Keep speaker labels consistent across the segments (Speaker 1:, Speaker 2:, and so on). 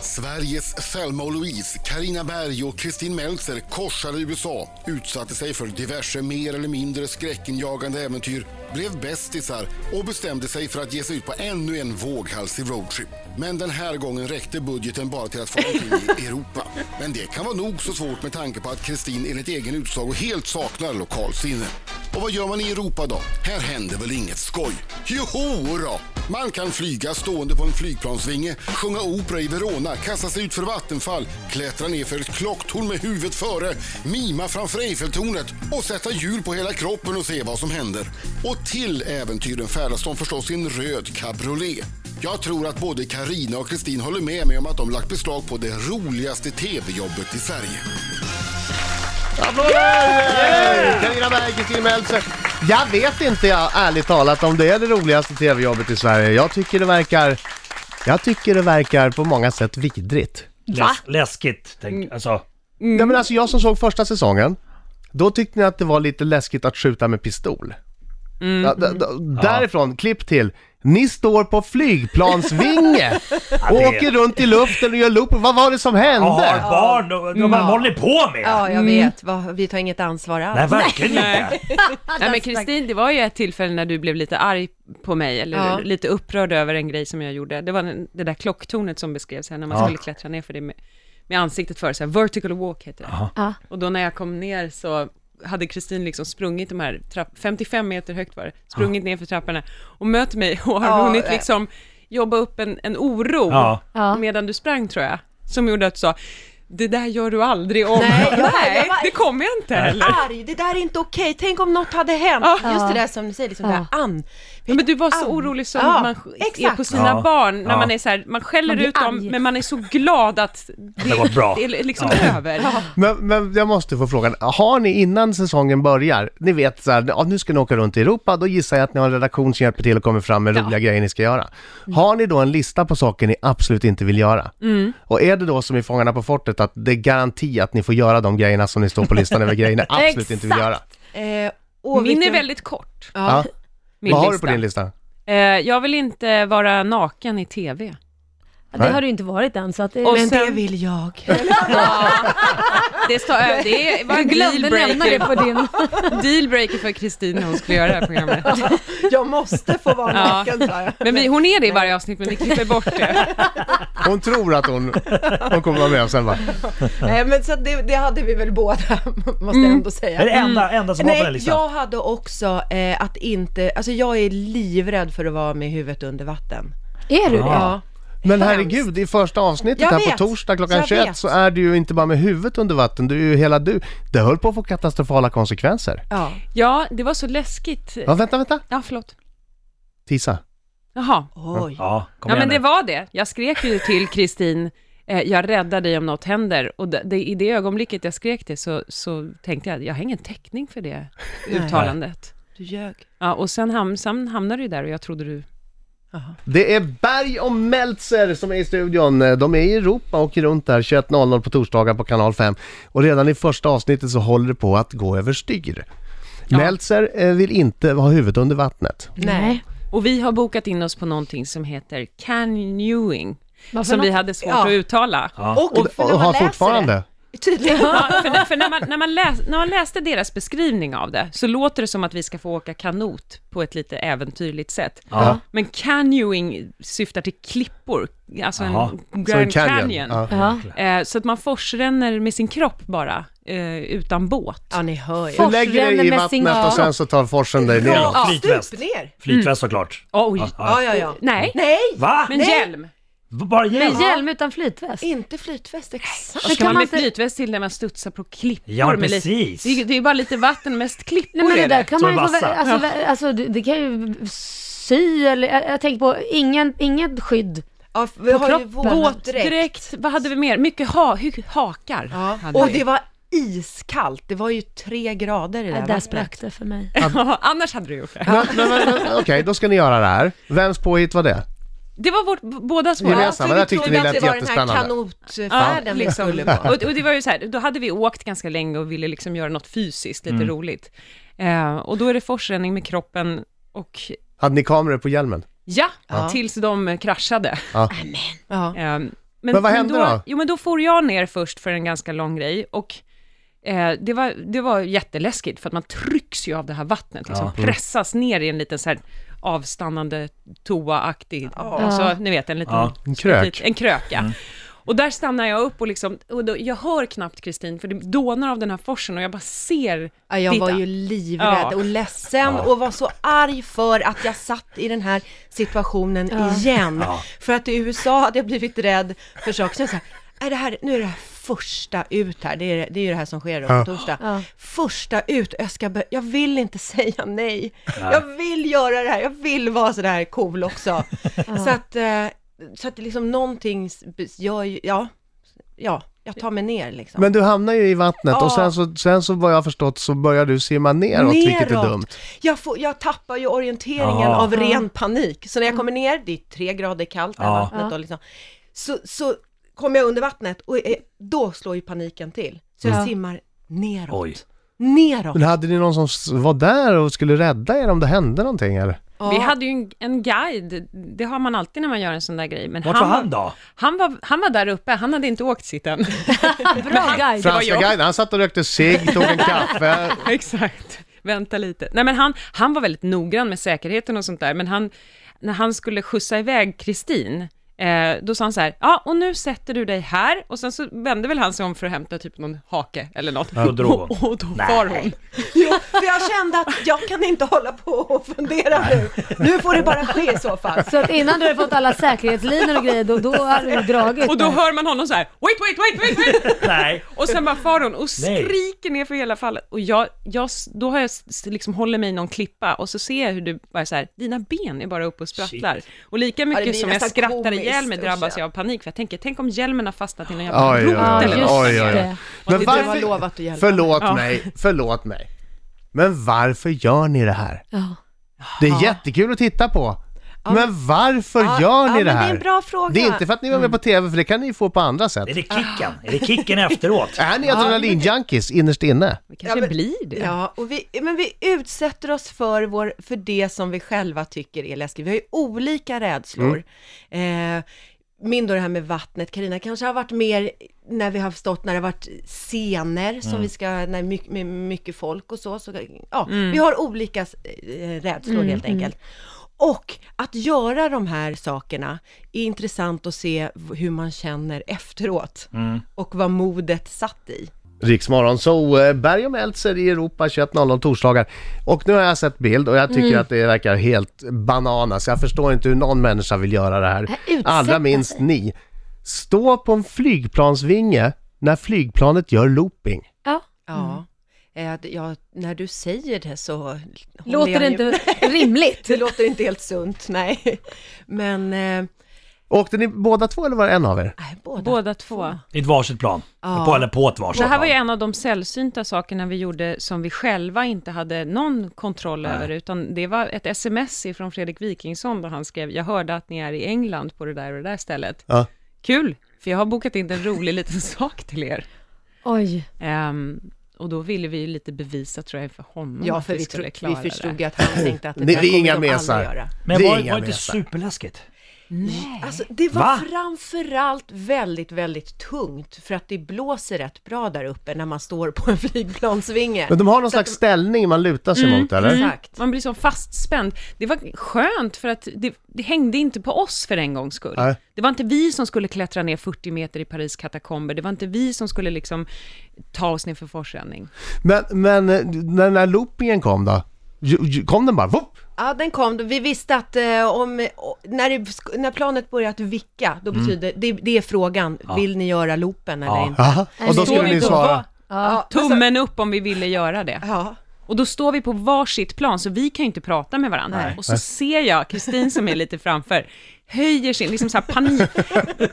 Speaker 1: Sveriges Selma och Louise, Carina Berg och Kristin Meltzer korsade USA, utsatte sig för diverse mer eller mindre skräckinjagande äventyr, blev bästisar och bestämde sig för att ge sig ut på ännu en våghalsig roadtrip. Men den här gången räckte budgeten bara till att få omkring i Europa. Men det kan vara nog så svårt med tanke på att Kristin enligt egen utsago helt saknar lokalsinne. Och vad gör man i Europa då? Här händer väl inget skoj? Joho då! Man kan flyga stående på en flygplansvinge, sjunga opera i Verona, kasta sig ut för vattenfall, klättra ner för ett klocktorn med huvudet före, mima framför Eiffeltornet och sätta hjul på hela kroppen och se vad som händer. Och till äventyren färdas de förstås i en röd cabriolet. Jag tror att både Karina och Kristin håller med mig om att de lagt beslag på det roligaste tv-jobbet i Sverige.
Speaker 2: Applåder! Carina Berg, Kristin Meltzer. Jag vet inte jag, ärligt talat om det är det roligaste tv-jobbet i Sverige. Jag tycker det verkar... Jag tycker det verkar på många sätt vidrigt.
Speaker 3: Läs, läskigt, tänk, alltså.
Speaker 2: Nej men alltså jag som såg första säsongen, då tyckte ni att det var lite läskigt att skjuta med pistol. Ja, d- d- därifrån, klipp till. Ni står på flygplansvinge och
Speaker 3: det-
Speaker 2: åker runt i luften och gör loop. Vad var det som hände?
Speaker 3: Jag har barn och de man håller på med.
Speaker 4: Ja, jag vet. Va, vi tar inget ansvar
Speaker 3: Mm. Nej,
Speaker 4: alls.
Speaker 3: verkligen inte.
Speaker 5: Nej men Kristin, det var ju ett tillfälle när du blev lite arg på mig, eller
Speaker 4: Ja.
Speaker 5: lite upprörd över en grej som jag gjorde. Det var den- det där klocktornet som beskrevs här, när man skulle klättra ner för det med, med ansiktet före, så här, vertical walk heter det.
Speaker 4: Ja.
Speaker 5: Och då när jag kom ner så hade Kristin liksom sprungit de här, trapp, 55 meter högt var det, sprungit ner för trapporna och mött mig och har
Speaker 4: Ja,
Speaker 5: hunnit
Speaker 4: nej.
Speaker 5: liksom jobba upp en, en oro
Speaker 3: Ja.
Speaker 4: Ja.
Speaker 5: medan du sprang tror jag, som gjorde att du sa, det där gör du aldrig om.
Speaker 4: Nej, jag- jag
Speaker 5: Nej
Speaker 4: var-
Speaker 5: det kommer jag inte heller.
Speaker 4: Arg, det där är inte okej. Tänk om något hade hänt.
Speaker 5: Ja.
Speaker 4: Just det där som du säger, liksom det här an.
Speaker 5: Ja, men du var så
Speaker 4: Au.
Speaker 5: orolig som
Speaker 4: Ja,
Speaker 5: man är
Speaker 4: exakt.
Speaker 5: på sina
Speaker 3: Ja,
Speaker 5: barn när
Speaker 3: ja.
Speaker 5: man är så här, man skäller
Speaker 6: Man blir
Speaker 5: ut dem
Speaker 6: arg.
Speaker 5: men man är så glad att det,
Speaker 3: Det var bra.
Speaker 5: det är liksom över.
Speaker 2: Men, men jag måste få frågan, har ni innan säsongen börjar, ni vet så här, ja, nu ska ni åka runt i Europa, då gissar jag att ni har en redaktion som hjälper till och kommer fram med roliga grejer ni ska göra.
Speaker 6: Mm.
Speaker 2: Har ni då en lista på saker ni absolut inte vill göra? Och är det då som i Fångarna på fortet, att det är garanti att ni får göra de grejerna som ni står på listan över grejer ni absolut inte vill göra?
Speaker 4: Eh, och
Speaker 5: Min är
Speaker 4: vilken-
Speaker 5: väldigt kort.
Speaker 2: Ja.
Speaker 4: Ja.
Speaker 5: Min
Speaker 2: Vad har du
Speaker 5: lista.
Speaker 2: på din lista?
Speaker 5: Eh, jag vill inte vara naken i TV.
Speaker 2: Nej.
Speaker 6: Det har du inte varit än så att det...
Speaker 5: Och
Speaker 4: Men
Speaker 5: sen-
Speaker 4: det vill jag.
Speaker 5: Det, står, ö- det var
Speaker 6: du
Speaker 5: en
Speaker 6: glömde nämna det
Speaker 5: dealbreaker
Speaker 6: på din...
Speaker 5: dealbreaker för Kristin när hon skulle göra det här programmet.
Speaker 4: Jag måste få vara
Speaker 5: Ja.
Speaker 4: naken, sa jag.
Speaker 5: Men vi, hon är det i varje avsnitt men vi klipper bort det.
Speaker 2: Hon tror att hon, hon kommer vara med och sen va?
Speaker 4: Nej, men så att det, det hade vi väl båda, måste jag ändå
Speaker 3: Det är det
Speaker 4: säga.
Speaker 3: enda, enda som var på den
Speaker 4: Nej,
Speaker 3: listan.
Speaker 4: jag hade också eh, att inte, alltså jag är livrädd för att vara med huvudet under vatten.
Speaker 6: Är du det?
Speaker 4: Ja.
Speaker 2: Men
Speaker 4: Hemskt.
Speaker 2: herregud, i första avsnittet
Speaker 4: Jag
Speaker 2: här på
Speaker 4: vet,
Speaker 2: torsdag klockan
Speaker 4: jag
Speaker 2: 21
Speaker 4: vet.
Speaker 2: så är du ju inte bara med huvudet under vatten, du är ju hela du. Det höll på att få katastrofala konsekvenser.
Speaker 4: Ja.
Speaker 5: Ja, det var så läskigt.
Speaker 2: Ja, vänta, vänta.
Speaker 5: Ja, förlåt.
Speaker 2: Tisa.
Speaker 5: Jaha.
Speaker 4: Oj.
Speaker 3: Ja, kom
Speaker 5: Ja
Speaker 3: igen
Speaker 5: men det
Speaker 3: nu.
Speaker 5: var det. Jag skrek ju till Kristin, eh, jag räddar dig om något händer. Och det, det, i det ögonblicket jag skrek det så, så tänkte jag, jag har ingen täckning för det uttalandet.
Speaker 4: Du ljög.
Speaker 5: Ja, och sen, ham, sen hamnade du där och jag trodde du...
Speaker 2: Det är Berg och Meltzer som är i studion. De är i Europa och åker runt där 21.00 på torsdagar på kanal 5. Och redan i första avsnittet så håller det på att gå överstyr. Meltzer eh, vill inte ha huvudet under vattnet.
Speaker 4: Nej.
Speaker 5: Och vi har bokat in oss på någonting som heter canyoning,
Speaker 6: Varför
Speaker 5: som vi
Speaker 6: något?
Speaker 5: hade svårt
Speaker 4: Ja.
Speaker 5: att uttala.
Speaker 4: Och, för när man
Speaker 2: har
Speaker 4: läser
Speaker 2: fortfarande.
Speaker 4: Det, tydligen.
Speaker 5: Ja, för när, för när, man, när, man läs, när man läste deras beskrivning av det, så låter det som att vi ska få åka kanot på ett lite äventyrligt sätt.
Speaker 3: Ja.
Speaker 5: Men canyoning syftar till klippor, alltså
Speaker 3: Jaha.
Speaker 5: en
Speaker 2: Så en
Speaker 5: Grand Canyon.
Speaker 2: Ja.
Speaker 6: Ja.
Speaker 5: Eh, så att man forsränner med sin kropp bara, eh, utan båt.
Speaker 4: Ja, ni hör ju.
Speaker 2: Du lägger dig i
Speaker 6: Forsränner med sin-
Speaker 2: vattnet och sen så tar forsen dig neråt.
Speaker 3: Ja, flytväst.
Speaker 4: Stup ner.
Speaker 3: Flytväst såklart.
Speaker 5: Oj!
Speaker 4: Ja, ja, ja.
Speaker 5: Nej,
Speaker 4: Nej,
Speaker 3: Va?
Speaker 5: men
Speaker 4: Nej.
Speaker 5: hjälm!
Speaker 3: Bara hjälp?
Speaker 6: Med hjälm utan flytväst.
Speaker 4: inte flytväst, exakt.
Speaker 6: Men
Speaker 5: Ska
Speaker 6: kan
Speaker 5: man
Speaker 6: man
Speaker 5: med
Speaker 6: inte-
Speaker 5: flytväst till när man studsar på klippor?
Speaker 3: Ja,
Speaker 5: med lite-
Speaker 3: precis.
Speaker 5: Det, är- det är bara lite vatten, mest klippor
Speaker 6: Nej men det
Speaker 5: är
Speaker 6: där kan
Speaker 3: Som
Speaker 6: man ju
Speaker 3: en vassa.
Speaker 6: få, vä- alltså, vä- alltså det, det kan ju sy eller, jag, jag tänker på, ingen, inget skydd.
Speaker 4: Ja, vi har ju
Speaker 6: kroppen.
Speaker 4: våtdräkt.
Speaker 5: Direkt, vad hade vi mer? Mycket ha, hu- hakar.
Speaker 4: Ja.
Speaker 5: hade
Speaker 4: Och
Speaker 5: vi.
Speaker 4: det var iskallt. Det var ju tre grader i det
Speaker 6: Där,
Speaker 4: där
Speaker 6: där
Speaker 4: vattnet.
Speaker 6: sprack det för mig.
Speaker 5: Annars hade du gjort det.
Speaker 2: Men, men, men, Okej, då ska ni göra det här. Vems påhitt var det?
Speaker 5: Det var vårt, b- bådas våra.
Speaker 2: Gemensamma,
Speaker 4: så
Speaker 2: där
Speaker 4: vi
Speaker 2: tyckte
Speaker 4: trodde
Speaker 2: ni
Speaker 4: att
Speaker 2: lät
Speaker 4: det var den här
Speaker 2: jättespännande.
Speaker 4: kanotfärden vi skulle på.
Speaker 5: Och, och det var ju så här, då hade vi åkt ganska länge och ville liksom göra något fysiskt, lite roligt. Eh, och då är det forsränning med kroppen och
Speaker 2: Hade ni kameror på hjälmen?
Speaker 5: eh, ja, tills de kraschade.
Speaker 4: Ja.
Speaker 5: Ehm,
Speaker 2: Men vad hände
Speaker 5: då,
Speaker 2: då?
Speaker 5: Jo, men då for jag ner först för en ganska lång grej och eh, det, var, det var jätteläskigt för att man trycks ju av det här vattnet, liksom
Speaker 2: Mm.
Speaker 5: pressas ner i en liten så här avstannande toaaktig, alltså ni vet en liten...
Speaker 3: Ja.
Speaker 2: En krök. Mm.
Speaker 5: liten- En kröka. Och där stannar jag upp och liksom, och då, jag hör knappt Kristin, för det dånar av den här forsen och jag bara ser
Speaker 4: Ja, jag
Speaker 5: ditt-
Speaker 4: var ju livrädd
Speaker 5: Ja.
Speaker 4: och ledsen och var så arg för att jag satt i den här situationen igen. För att i USA hade jag blivit rädd för saker. Så jag sa, är det här, nu är det här första ut här, det är, det är ju det här som sker då på
Speaker 2: Ja.
Speaker 4: torsdag.
Speaker 6: Ja.
Speaker 4: Första ut, jag, ska be- jag vill inte säga nej. Jag vill göra det här, jag vill vara sådär cool också. så att, eh, så att det liksom någonting, s- gör ju- ja, ja, jag tar mig ner liksom.
Speaker 2: Men du hamnar ju i vattnet
Speaker 4: Ja.
Speaker 2: och sen så, sen så vad jag har förstått så börjar du simma neråt, vilket är dumt.
Speaker 4: Jag, får, jag tappar ju orienteringen
Speaker 3: Ja. Mm.
Speaker 4: av ren panik. Så när jag kommer ner, det är tre grader kallt där
Speaker 3: Ja.
Speaker 4: vattnet och liksom, så, så kommer jag under vattnet och eh, då slår ju paniken till. Så jag
Speaker 6: Ja.
Speaker 4: simmar neråt.
Speaker 3: Oj.
Speaker 4: Neråt.
Speaker 2: Men hade ni någon som s- var där och skulle rädda er om det hände någonting eller?
Speaker 4: Ja.
Speaker 5: Vi hade ju en, en guide, det har man alltid när man gör en sån där grej. Men
Speaker 3: Vart var han då?
Speaker 5: Han var, han var där uppe, han hade inte åkt sitt än.
Speaker 6: Bra guide.
Speaker 5: var
Speaker 2: Franska
Speaker 5: jag.
Speaker 2: guiden, han satt och rökte cigg, tog en kaffe.
Speaker 5: Exakt. Vänta lite. Nej, men han, han var väldigt noggrann med säkerheten och sånt där, men han, när han skulle skjutsa iväg Kristin, eh, då sa han så här, ja, och nu sätter du dig här, och sen så vände väl han sig om för att hämta typ någon hake eller något.
Speaker 3: Då drog hon.
Speaker 5: Och, och då far hon.
Speaker 4: Jo, för jag kände att jag kan inte hålla på och fundera nu. Nu får det bara ske i så fall.
Speaker 6: Så att innan du hade fått alla säkerhetslinor och grejer, då, då hade du dragit.
Speaker 5: Och då hör man honom så här, wait, wait, wait, wait, wait!
Speaker 3: Nej.
Speaker 5: Och sen bara far hon och
Speaker 3: Nej.
Speaker 5: skriker ner för hela fallet. Och jag, jag, s- då har jag s- s- liksom håller mig i någon klippa och så ser jag hur du bara så här, dina ben är bara uppe och sprattlar. Och lika mycket
Speaker 4: blir
Speaker 5: som jag
Speaker 4: nästan
Speaker 5: skrattar
Speaker 4: komiskt,
Speaker 5: ihjäl mig drabbas
Speaker 4: usch, ja.
Speaker 5: jag av panik, för jag tänker, tänk om hjälmen har fastnat i någon jävla
Speaker 2: Oj, oj,
Speaker 5: rot
Speaker 2: oj,
Speaker 5: eller något.
Speaker 2: oj,
Speaker 6: just
Speaker 2: oj.
Speaker 6: det.
Speaker 4: Och du har lovat att hjälpa
Speaker 2: förlåt
Speaker 5: Ja.
Speaker 2: mig, förlåt mig. Men varför gör ni det här?
Speaker 6: Ja.
Speaker 2: Det är jättekul att titta på. Men varför
Speaker 4: Ja,
Speaker 2: gör
Speaker 4: ja,
Speaker 2: ni
Speaker 4: men
Speaker 2: det
Speaker 4: det är
Speaker 2: här?
Speaker 4: en bra fråga. Mm.
Speaker 2: Det är inte för att ni var med på TV, för det kan ni ju få på andra sätt.
Speaker 3: Är det kicken? Är det kicken efteråt?
Speaker 2: Är ni adrenalinjunkies innerst inne?
Speaker 5: Det kanske
Speaker 4: Ja, men-
Speaker 5: blir det.
Speaker 4: Ja, och vi, men vi utsätter oss för, vår, för det som vi själva tycker är läskigt. Vi har ju olika rädslor. Eh, min då det här med vattnet, Karina kanske har varit mer när vi har stått, när det har varit scener som vi ska, när mycket, med mycket folk och så. så ja, vi har olika eh, rädslor helt enkelt. Och att göra de här sakerna är intressant att se v- hur man känner efteråt och vad modet satt i.
Speaker 2: Riksmorgon, så eh, Berg och Meltzer i Europa 21.00 torsdagar. Och nu har jag sett bild och jag tycker att det verkar helt bananas. Jag förstår inte hur någon människa vill göra det här.
Speaker 6: Utsätta
Speaker 2: Allra minst ni. Stå på en flygplansvinge när flygplanet gör looping.
Speaker 6: Ja.
Speaker 4: Ja. Eh, att jag- när du säger det så... håller
Speaker 6: Låter
Speaker 4: jag
Speaker 6: det
Speaker 4: ju-
Speaker 6: inte rimligt?
Speaker 4: Det låter inte helt sunt, nej. Men... Eh,
Speaker 2: Åkte ni båda två eller var det en av er?
Speaker 4: nej, båda.
Speaker 5: Båda två.
Speaker 3: I ett varsitt plan. På, eller på ett varsitt
Speaker 5: Det här var
Speaker 3: plan.
Speaker 5: ju en av de sällsynta sakerna vi gjorde som vi själva inte hade någon kontroll över, utan det var ett sms från Fredrik Wikingsson där han skrev, jag hörde att ni är i England på det där och det där stället.
Speaker 2: Ja.
Speaker 5: Kul, för jag har bokat in en rolig liten sak till er.
Speaker 6: Oj.
Speaker 5: Ehm, och då ville vi ju lite bevisa tror jag för honom
Speaker 4: Ja,
Speaker 5: Mm. att
Speaker 4: för vi,
Speaker 5: skulle
Speaker 4: tro,
Speaker 5: klara
Speaker 4: vi förstod
Speaker 5: det.
Speaker 4: ju att han tänkte att det
Speaker 2: Ni-
Speaker 4: där
Speaker 2: vi är
Speaker 4: kommer
Speaker 2: inga
Speaker 4: de aldrig
Speaker 2: mesar.
Speaker 4: göra.
Speaker 2: Det
Speaker 3: Men
Speaker 2: är
Speaker 3: var,
Speaker 2: inga
Speaker 3: var inte
Speaker 2: mesar.
Speaker 3: superläskigt?
Speaker 4: Alltså, det var
Speaker 3: Va?
Speaker 4: framförallt väldigt, väldigt tungt för att det blåser rätt bra där uppe när man står på en flygplansvinge.
Speaker 2: Men de har någon slags ställning man lutar sig mot eller?
Speaker 4: Exakt.
Speaker 5: Man blir så fastspänd. Det var skönt för att det, det hängde inte på oss för en gångs skull.
Speaker 2: Nej.
Speaker 5: Det var inte vi som skulle klättra ner 40 meter i Paris katakomber. Det var inte vi som skulle liksom ta oss ner för forsränning.
Speaker 2: Men, men eh, när den här loopingen kom då? Ju- ju- Kom den bara? Whoop!
Speaker 4: Ja, den kom. Vi visste att eh, om, o- när, det, sk- när planet börjar att vicka, då betyder det, det är frågan, vill ni göra loopen eller
Speaker 3: Mm. Ja.
Speaker 4: inte?
Speaker 2: Aha. Och då skulle
Speaker 6: men-
Speaker 5: Står vi
Speaker 2: ni
Speaker 5: då?
Speaker 2: svara?
Speaker 4: Ja, alltså-
Speaker 5: Tummen upp om vi ville göra det.
Speaker 4: Ja.
Speaker 5: Och då står vi på varsitt plan, så vi kan ju inte prata med varandra. Och så ser jag Kristin som är lite framför, höjer sin, liksom så här panik,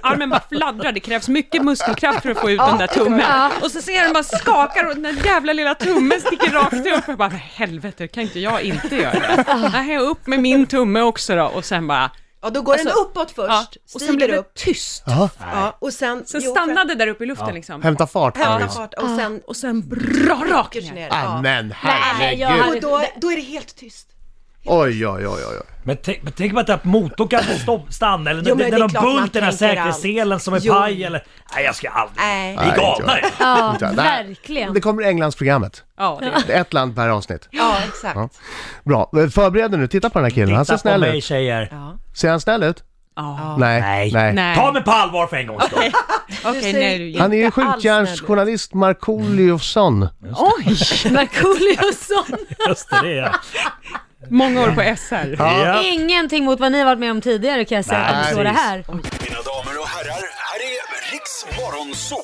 Speaker 5: armen bara fladdrar, det krävs mycket muskelkraft för att få ut den där tummen. Och så ser jag den bara skakar och den där jävla lilla tummen sticker rakt upp. Jag bara, "Men helvete, kan inte jag inte göra det? Nej, upp med min tumme också då. Och sen bara,
Speaker 4: Ja, då går den
Speaker 5: Alltså,
Speaker 4: uppåt
Speaker 5: ja.
Speaker 4: först,
Speaker 5: Och
Speaker 4: stiger
Speaker 5: sen blev det
Speaker 4: upp.
Speaker 5: tyst.
Speaker 4: Ja, och sen,
Speaker 5: Sen
Speaker 4: jo,
Speaker 5: stannade där uppe i luften
Speaker 2: Ja.
Speaker 5: liksom.
Speaker 2: Hämta fart
Speaker 4: för att Hämta
Speaker 2: Paris.
Speaker 4: fart och sen
Speaker 5: Och sen bra rakt
Speaker 4: åker sig
Speaker 5: ner.
Speaker 4: ner.
Speaker 2: Ah,
Speaker 4: Ah. Ja.
Speaker 2: men
Speaker 6: Nej, jag
Speaker 2: herregud.
Speaker 6: hade-
Speaker 4: Och då, då är det helt tyst.
Speaker 2: Oj, oj, oj, oj. oj.
Speaker 3: Men tänk, men tänk på att det här motorn kan stopp- stanna eller
Speaker 4: Jo,
Speaker 3: det,
Speaker 4: men
Speaker 3: det,
Speaker 4: det är
Speaker 3: är någon
Speaker 4: klart man
Speaker 3: bult i den här
Speaker 4: tänker
Speaker 3: säkerhetsselen
Speaker 4: allt.
Speaker 3: som är
Speaker 4: Jo.
Speaker 3: paj eller... Nej jag ska aldrig...
Speaker 4: Nej.
Speaker 3: Ni är
Speaker 2: Nej, inte
Speaker 3: galna
Speaker 2: jag.
Speaker 3: ju.
Speaker 6: Ja,
Speaker 2: Där.
Speaker 6: verkligen.
Speaker 2: Det kommer Englandsprogrammet.
Speaker 5: Ja, det är
Speaker 2: Det är Ett land per avsnitt.
Speaker 4: Ja, exakt.
Speaker 2: Bra, förbered dig nu. Titta på den här killen. Han ser
Speaker 3: Titta på
Speaker 2: snäll
Speaker 3: mig
Speaker 2: ut.
Speaker 3: tjejer.
Speaker 4: Ja.
Speaker 2: Ser han snäll ut?
Speaker 5: ja.
Speaker 2: Nej.
Speaker 3: Nej.
Speaker 5: Nej.
Speaker 3: Ta mig på allvar för en gångs skull.
Speaker 5: Okej,
Speaker 4: ser-
Speaker 5: nej du
Speaker 2: Han är ju
Speaker 4: Inte alls
Speaker 2: skjutjärnsjournalist Markooliofsson.
Speaker 5: Oj!
Speaker 6: Markooliosson.
Speaker 3: Just det, det är jag.
Speaker 5: Många år på SR.
Speaker 3: Ja.
Speaker 6: Ingenting mot vad ni varit med om tidigare kan jag säga.
Speaker 3: Nej,
Speaker 6: Nej, det
Speaker 3: precis.
Speaker 6: här.
Speaker 7: Mina damer och herrar, här är Riks Morgonzoo!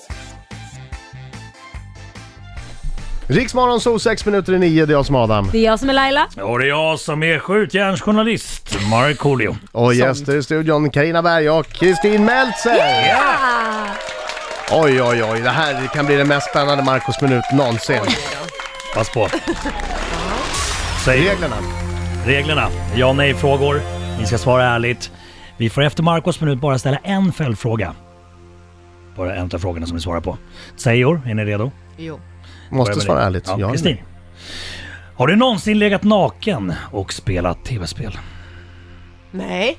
Speaker 2: Riksmorgon, så sex minuter i nio. Det är jag som är Adam.
Speaker 6: Det är jag som är Laila.
Speaker 3: Och det är jag som är skjutjärnsjournalist, Markoolio.
Speaker 2: Och gäster i studion, Carina Berg och Kristin Meltzer! Oj, oj, oj, det här kan bli den mest spännande Marcos minut någonsin.
Speaker 3: Pass på. Säg
Speaker 2: Reglerna.
Speaker 3: reglerna. Ja nej frågor. Ni ska svara ärligt. Vi får efter Marcos minut bara ställa en följdfråga. Bara en av frågorna som ni svarar på. Sejor, är ni redo?
Speaker 4: Jo.
Speaker 2: Måste svara ärligt.
Speaker 3: Ja,
Speaker 2: Ja,
Speaker 3: Kristin. Har du någonsin legat naken och spelat tv-spel?
Speaker 4: Nej.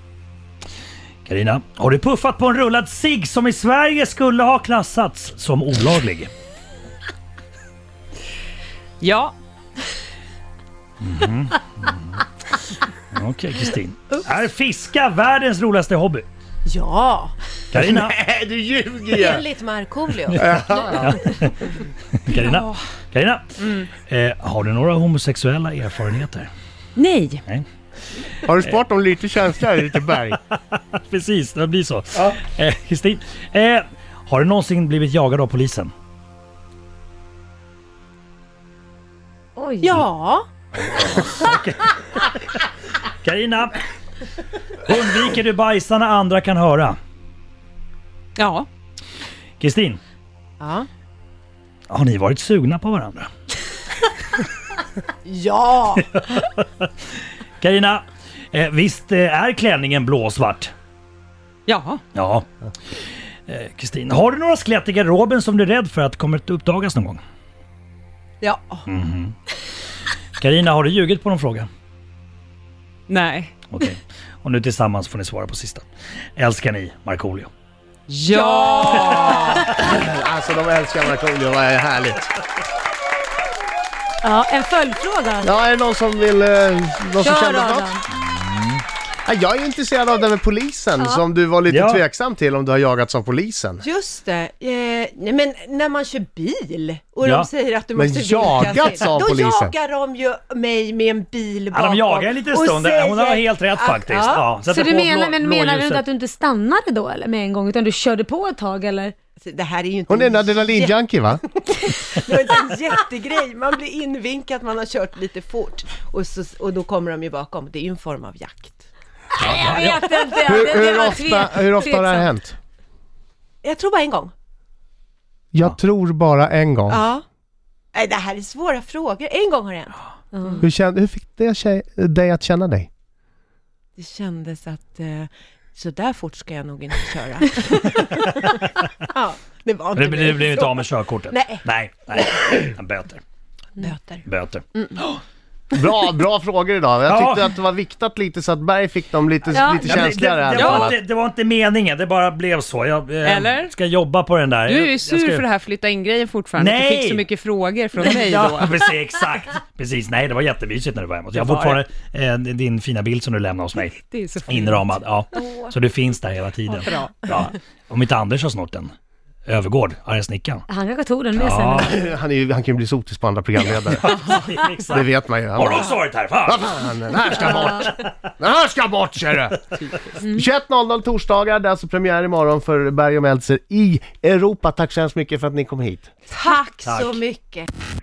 Speaker 3: Karina, har du puffat på en rullad cigg som i Sverige skulle ha klassats som olaglig?
Speaker 5: Ja,
Speaker 3: Okej, Kristin. Är fiska världens roligaste hobby?
Speaker 4: Ja.
Speaker 3: Karina,
Speaker 2: Nej, du ljuger
Speaker 4: Enligt Markoolio.
Speaker 3: Karina, Karina. Eh, har du några homosexuella erfarenheter?
Speaker 5: nej.
Speaker 2: Har du sparat dem lite känsla, lite berg?
Speaker 3: Precis, det blir så. Eh, Kristin, eh, har du någonsin blivit jagad av polisen?
Speaker 6: Oj.
Speaker 4: Ja.
Speaker 3: Karina, undviker du bajsa när andra kan höra?
Speaker 5: Ja.
Speaker 3: Kristin,
Speaker 4: Ja.
Speaker 3: har ni varit sugna på varandra?
Speaker 4: Ja.
Speaker 3: Karina, eh, visst eh, är klänningen blåsvart?
Speaker 5: Ja.
Speaker 3: Ja. Eh, Kristin, har du några skelett i garderoben som du är rädd för att kommer att uppdagas någon gång?
Speaker 4: Ja.
Speaker 3: Karina, har du ljugit på någon fråga?
Speaker 5: Nej.
Speaker 3: Okej. Och nu tillsammans får ni svara på sista. Älskar ni Markoolio?
Speaker 5: Ja!
Speaker 2: Alltså, de älskar Markoolio, vad härligt.
Speaker 6: ja en följdfråga.
Speaker 2: Ja, är det någon som vill... eh, Någon som
Speaker 6: Kör
Speaker 2: känner något?
Speaker 6: Adam.
Speaker 2: Ja, Jag är intresserad av det med polisen, som du var lite
Speaker 3: Ja.
Speaker 2: tveksam till om du har jagats av polisen.
Speaker 4: Just det. Eh, nej, men när man kör bil och
Speaker 3: Ja.
Speaker 4: de säger att du
Speaker 2: Men
Speaker 4: måste
Speaker 2: jagats
Speaker 4: sig,
Speaker 2: av
Speaker 4: Då
Speaker 2: polisen.
Speaker 4: jagar de ju mig med en bil
Speaker 3: Ja,
Speaker 4: bakom.
Speaker 3: de jagar en liten
Speaker 4: och
Speaker 3: stund.
Speaker 4: säger
Speaker 3: Hon har helt rätt
Speaker 4: att-
Speaker 3: faktiskt.
Speaker 4: Ja.
Speaker 3: Ja, sätter
Speaker 6: Så du
Speaker 3: på
Speaker 6: menar,
Speaker 3: blå-
Speaker 6: men menar du
Speaker 3: blåljuset.
Speaker 6: inte att du inte stannade då eller, med en gång utan du körde på ett tag eller?
Speaker 4: Så Det här är ju inte
Speaker 2: Hon är en
Speaker 4: en jätte-
Speaker 2: adrenalinjunkie, va?
Speaker 4: det är inte en jättegrej. Man blir invinkad, man har kört lite fort och, så, och då kommer de ju bakom. Det är ju en form av jakt.
Speaker 6: Jag vet inte.
Speaker 2: Hur,
Speaker 6: det- det
Speaker 2: hur,
Speaker 6: var
Speaker 2: ofta,
Speaker 6: tve-
Speaker 2: hur ofta har det här
Speaker 6: tveksamt.
Speaker 2: hänt?
Speaker 4: Jag tror bara en gång.
Speaker 2: Jag tror bara en gång.
Speaker 4: Ja. Nej, det här är svåra frågor. En gång har det hänt.
Speaker 2: Hur, kände, hur fick det tjej, dig att känna dig?
Speaker 4: Det kändes att eh, så där fort ska jag nog inte köra. ja, det var inte
Speaker 3: Du, du
Speaker 4: min
Speaker 3: blev inte
Speaker 4: fråga.
Speaker 3: av med körkortet?
Speaker 4: Nej.
Speaker 3: Nej, nej. Böter.
Speaker 4: Böter.
Speaker 3: Böter.
Speaker 2: Bra, bra frågor idag. Jag
Speaker 3: Ja.
Speaker 2: tyckte att det var viktat lite så att Berg fick dem lite,
Speaker 6: Ja.
Speaker 2: lite
Speaker 3: Ja, men
Speaker 2: känsligare.
Speaker 3: det,
Speaker 2: här
Speaker 3: det,
Speaker 2: på
Speaker 3: var
Speaker 2: alla.
Speaker 3: inte, det var inte meningen, det bara blev så. Jag eh,
Speaker 5: Eller?
Speaker 3: ska jobba på den där.
Speaker 5: Du är
Speaker 3: Jag-
Speaker 5: ju
Speaker 3: jag
Speaker 5: sur
Speaker 3: ska-
Speaker 5: för det här flytta in-grejen fortfarande. att Du
Speaker 3: Nej!
Speaker 5: fick så mycket frågor från mig
Speaker 3: Ja,
Speaker 5: då.
Speaker 3: precis, exakt. Precis, nej det var jättemysigt när du var hemma. Jag har
Speaker 5: Det var
Speaker 3: fortfarande eh, din fina bild som du lämnade hos mig.
Speaker 5: Det är så fint.
Speaker 3: Inramad, ja. Så du finns där hela tiden.
Speaker 5: Vad bra.
Speaker 3: Ja. Om inte Anders har snott den. Övergård, arga snickaren.
Speaker 6: Han kanske tog den med
Speaker 3: Ja,
Speaker 6: sig.
Speaker 2: Han, är ju, han kan ju bli sotis på andra programledare. det
Speaker 3: exakt.
Speaker 2: vet man ju. Han
Speaker 3: Har du
Speaker 2: bara,
Speaker 3: också varit här? Fan.
Speaker 2: "Vad fan, den här ska bort! Den här ska bort, ser du! 21.00 torsdagar, det är alltså premiär imorgon för Berg och Meltzer i Europa. Tack så hemskt mycket för att ni kom hit.
Speaker 4: Tack,
Speaker 3: Tack.
Speaker 4: så mycket.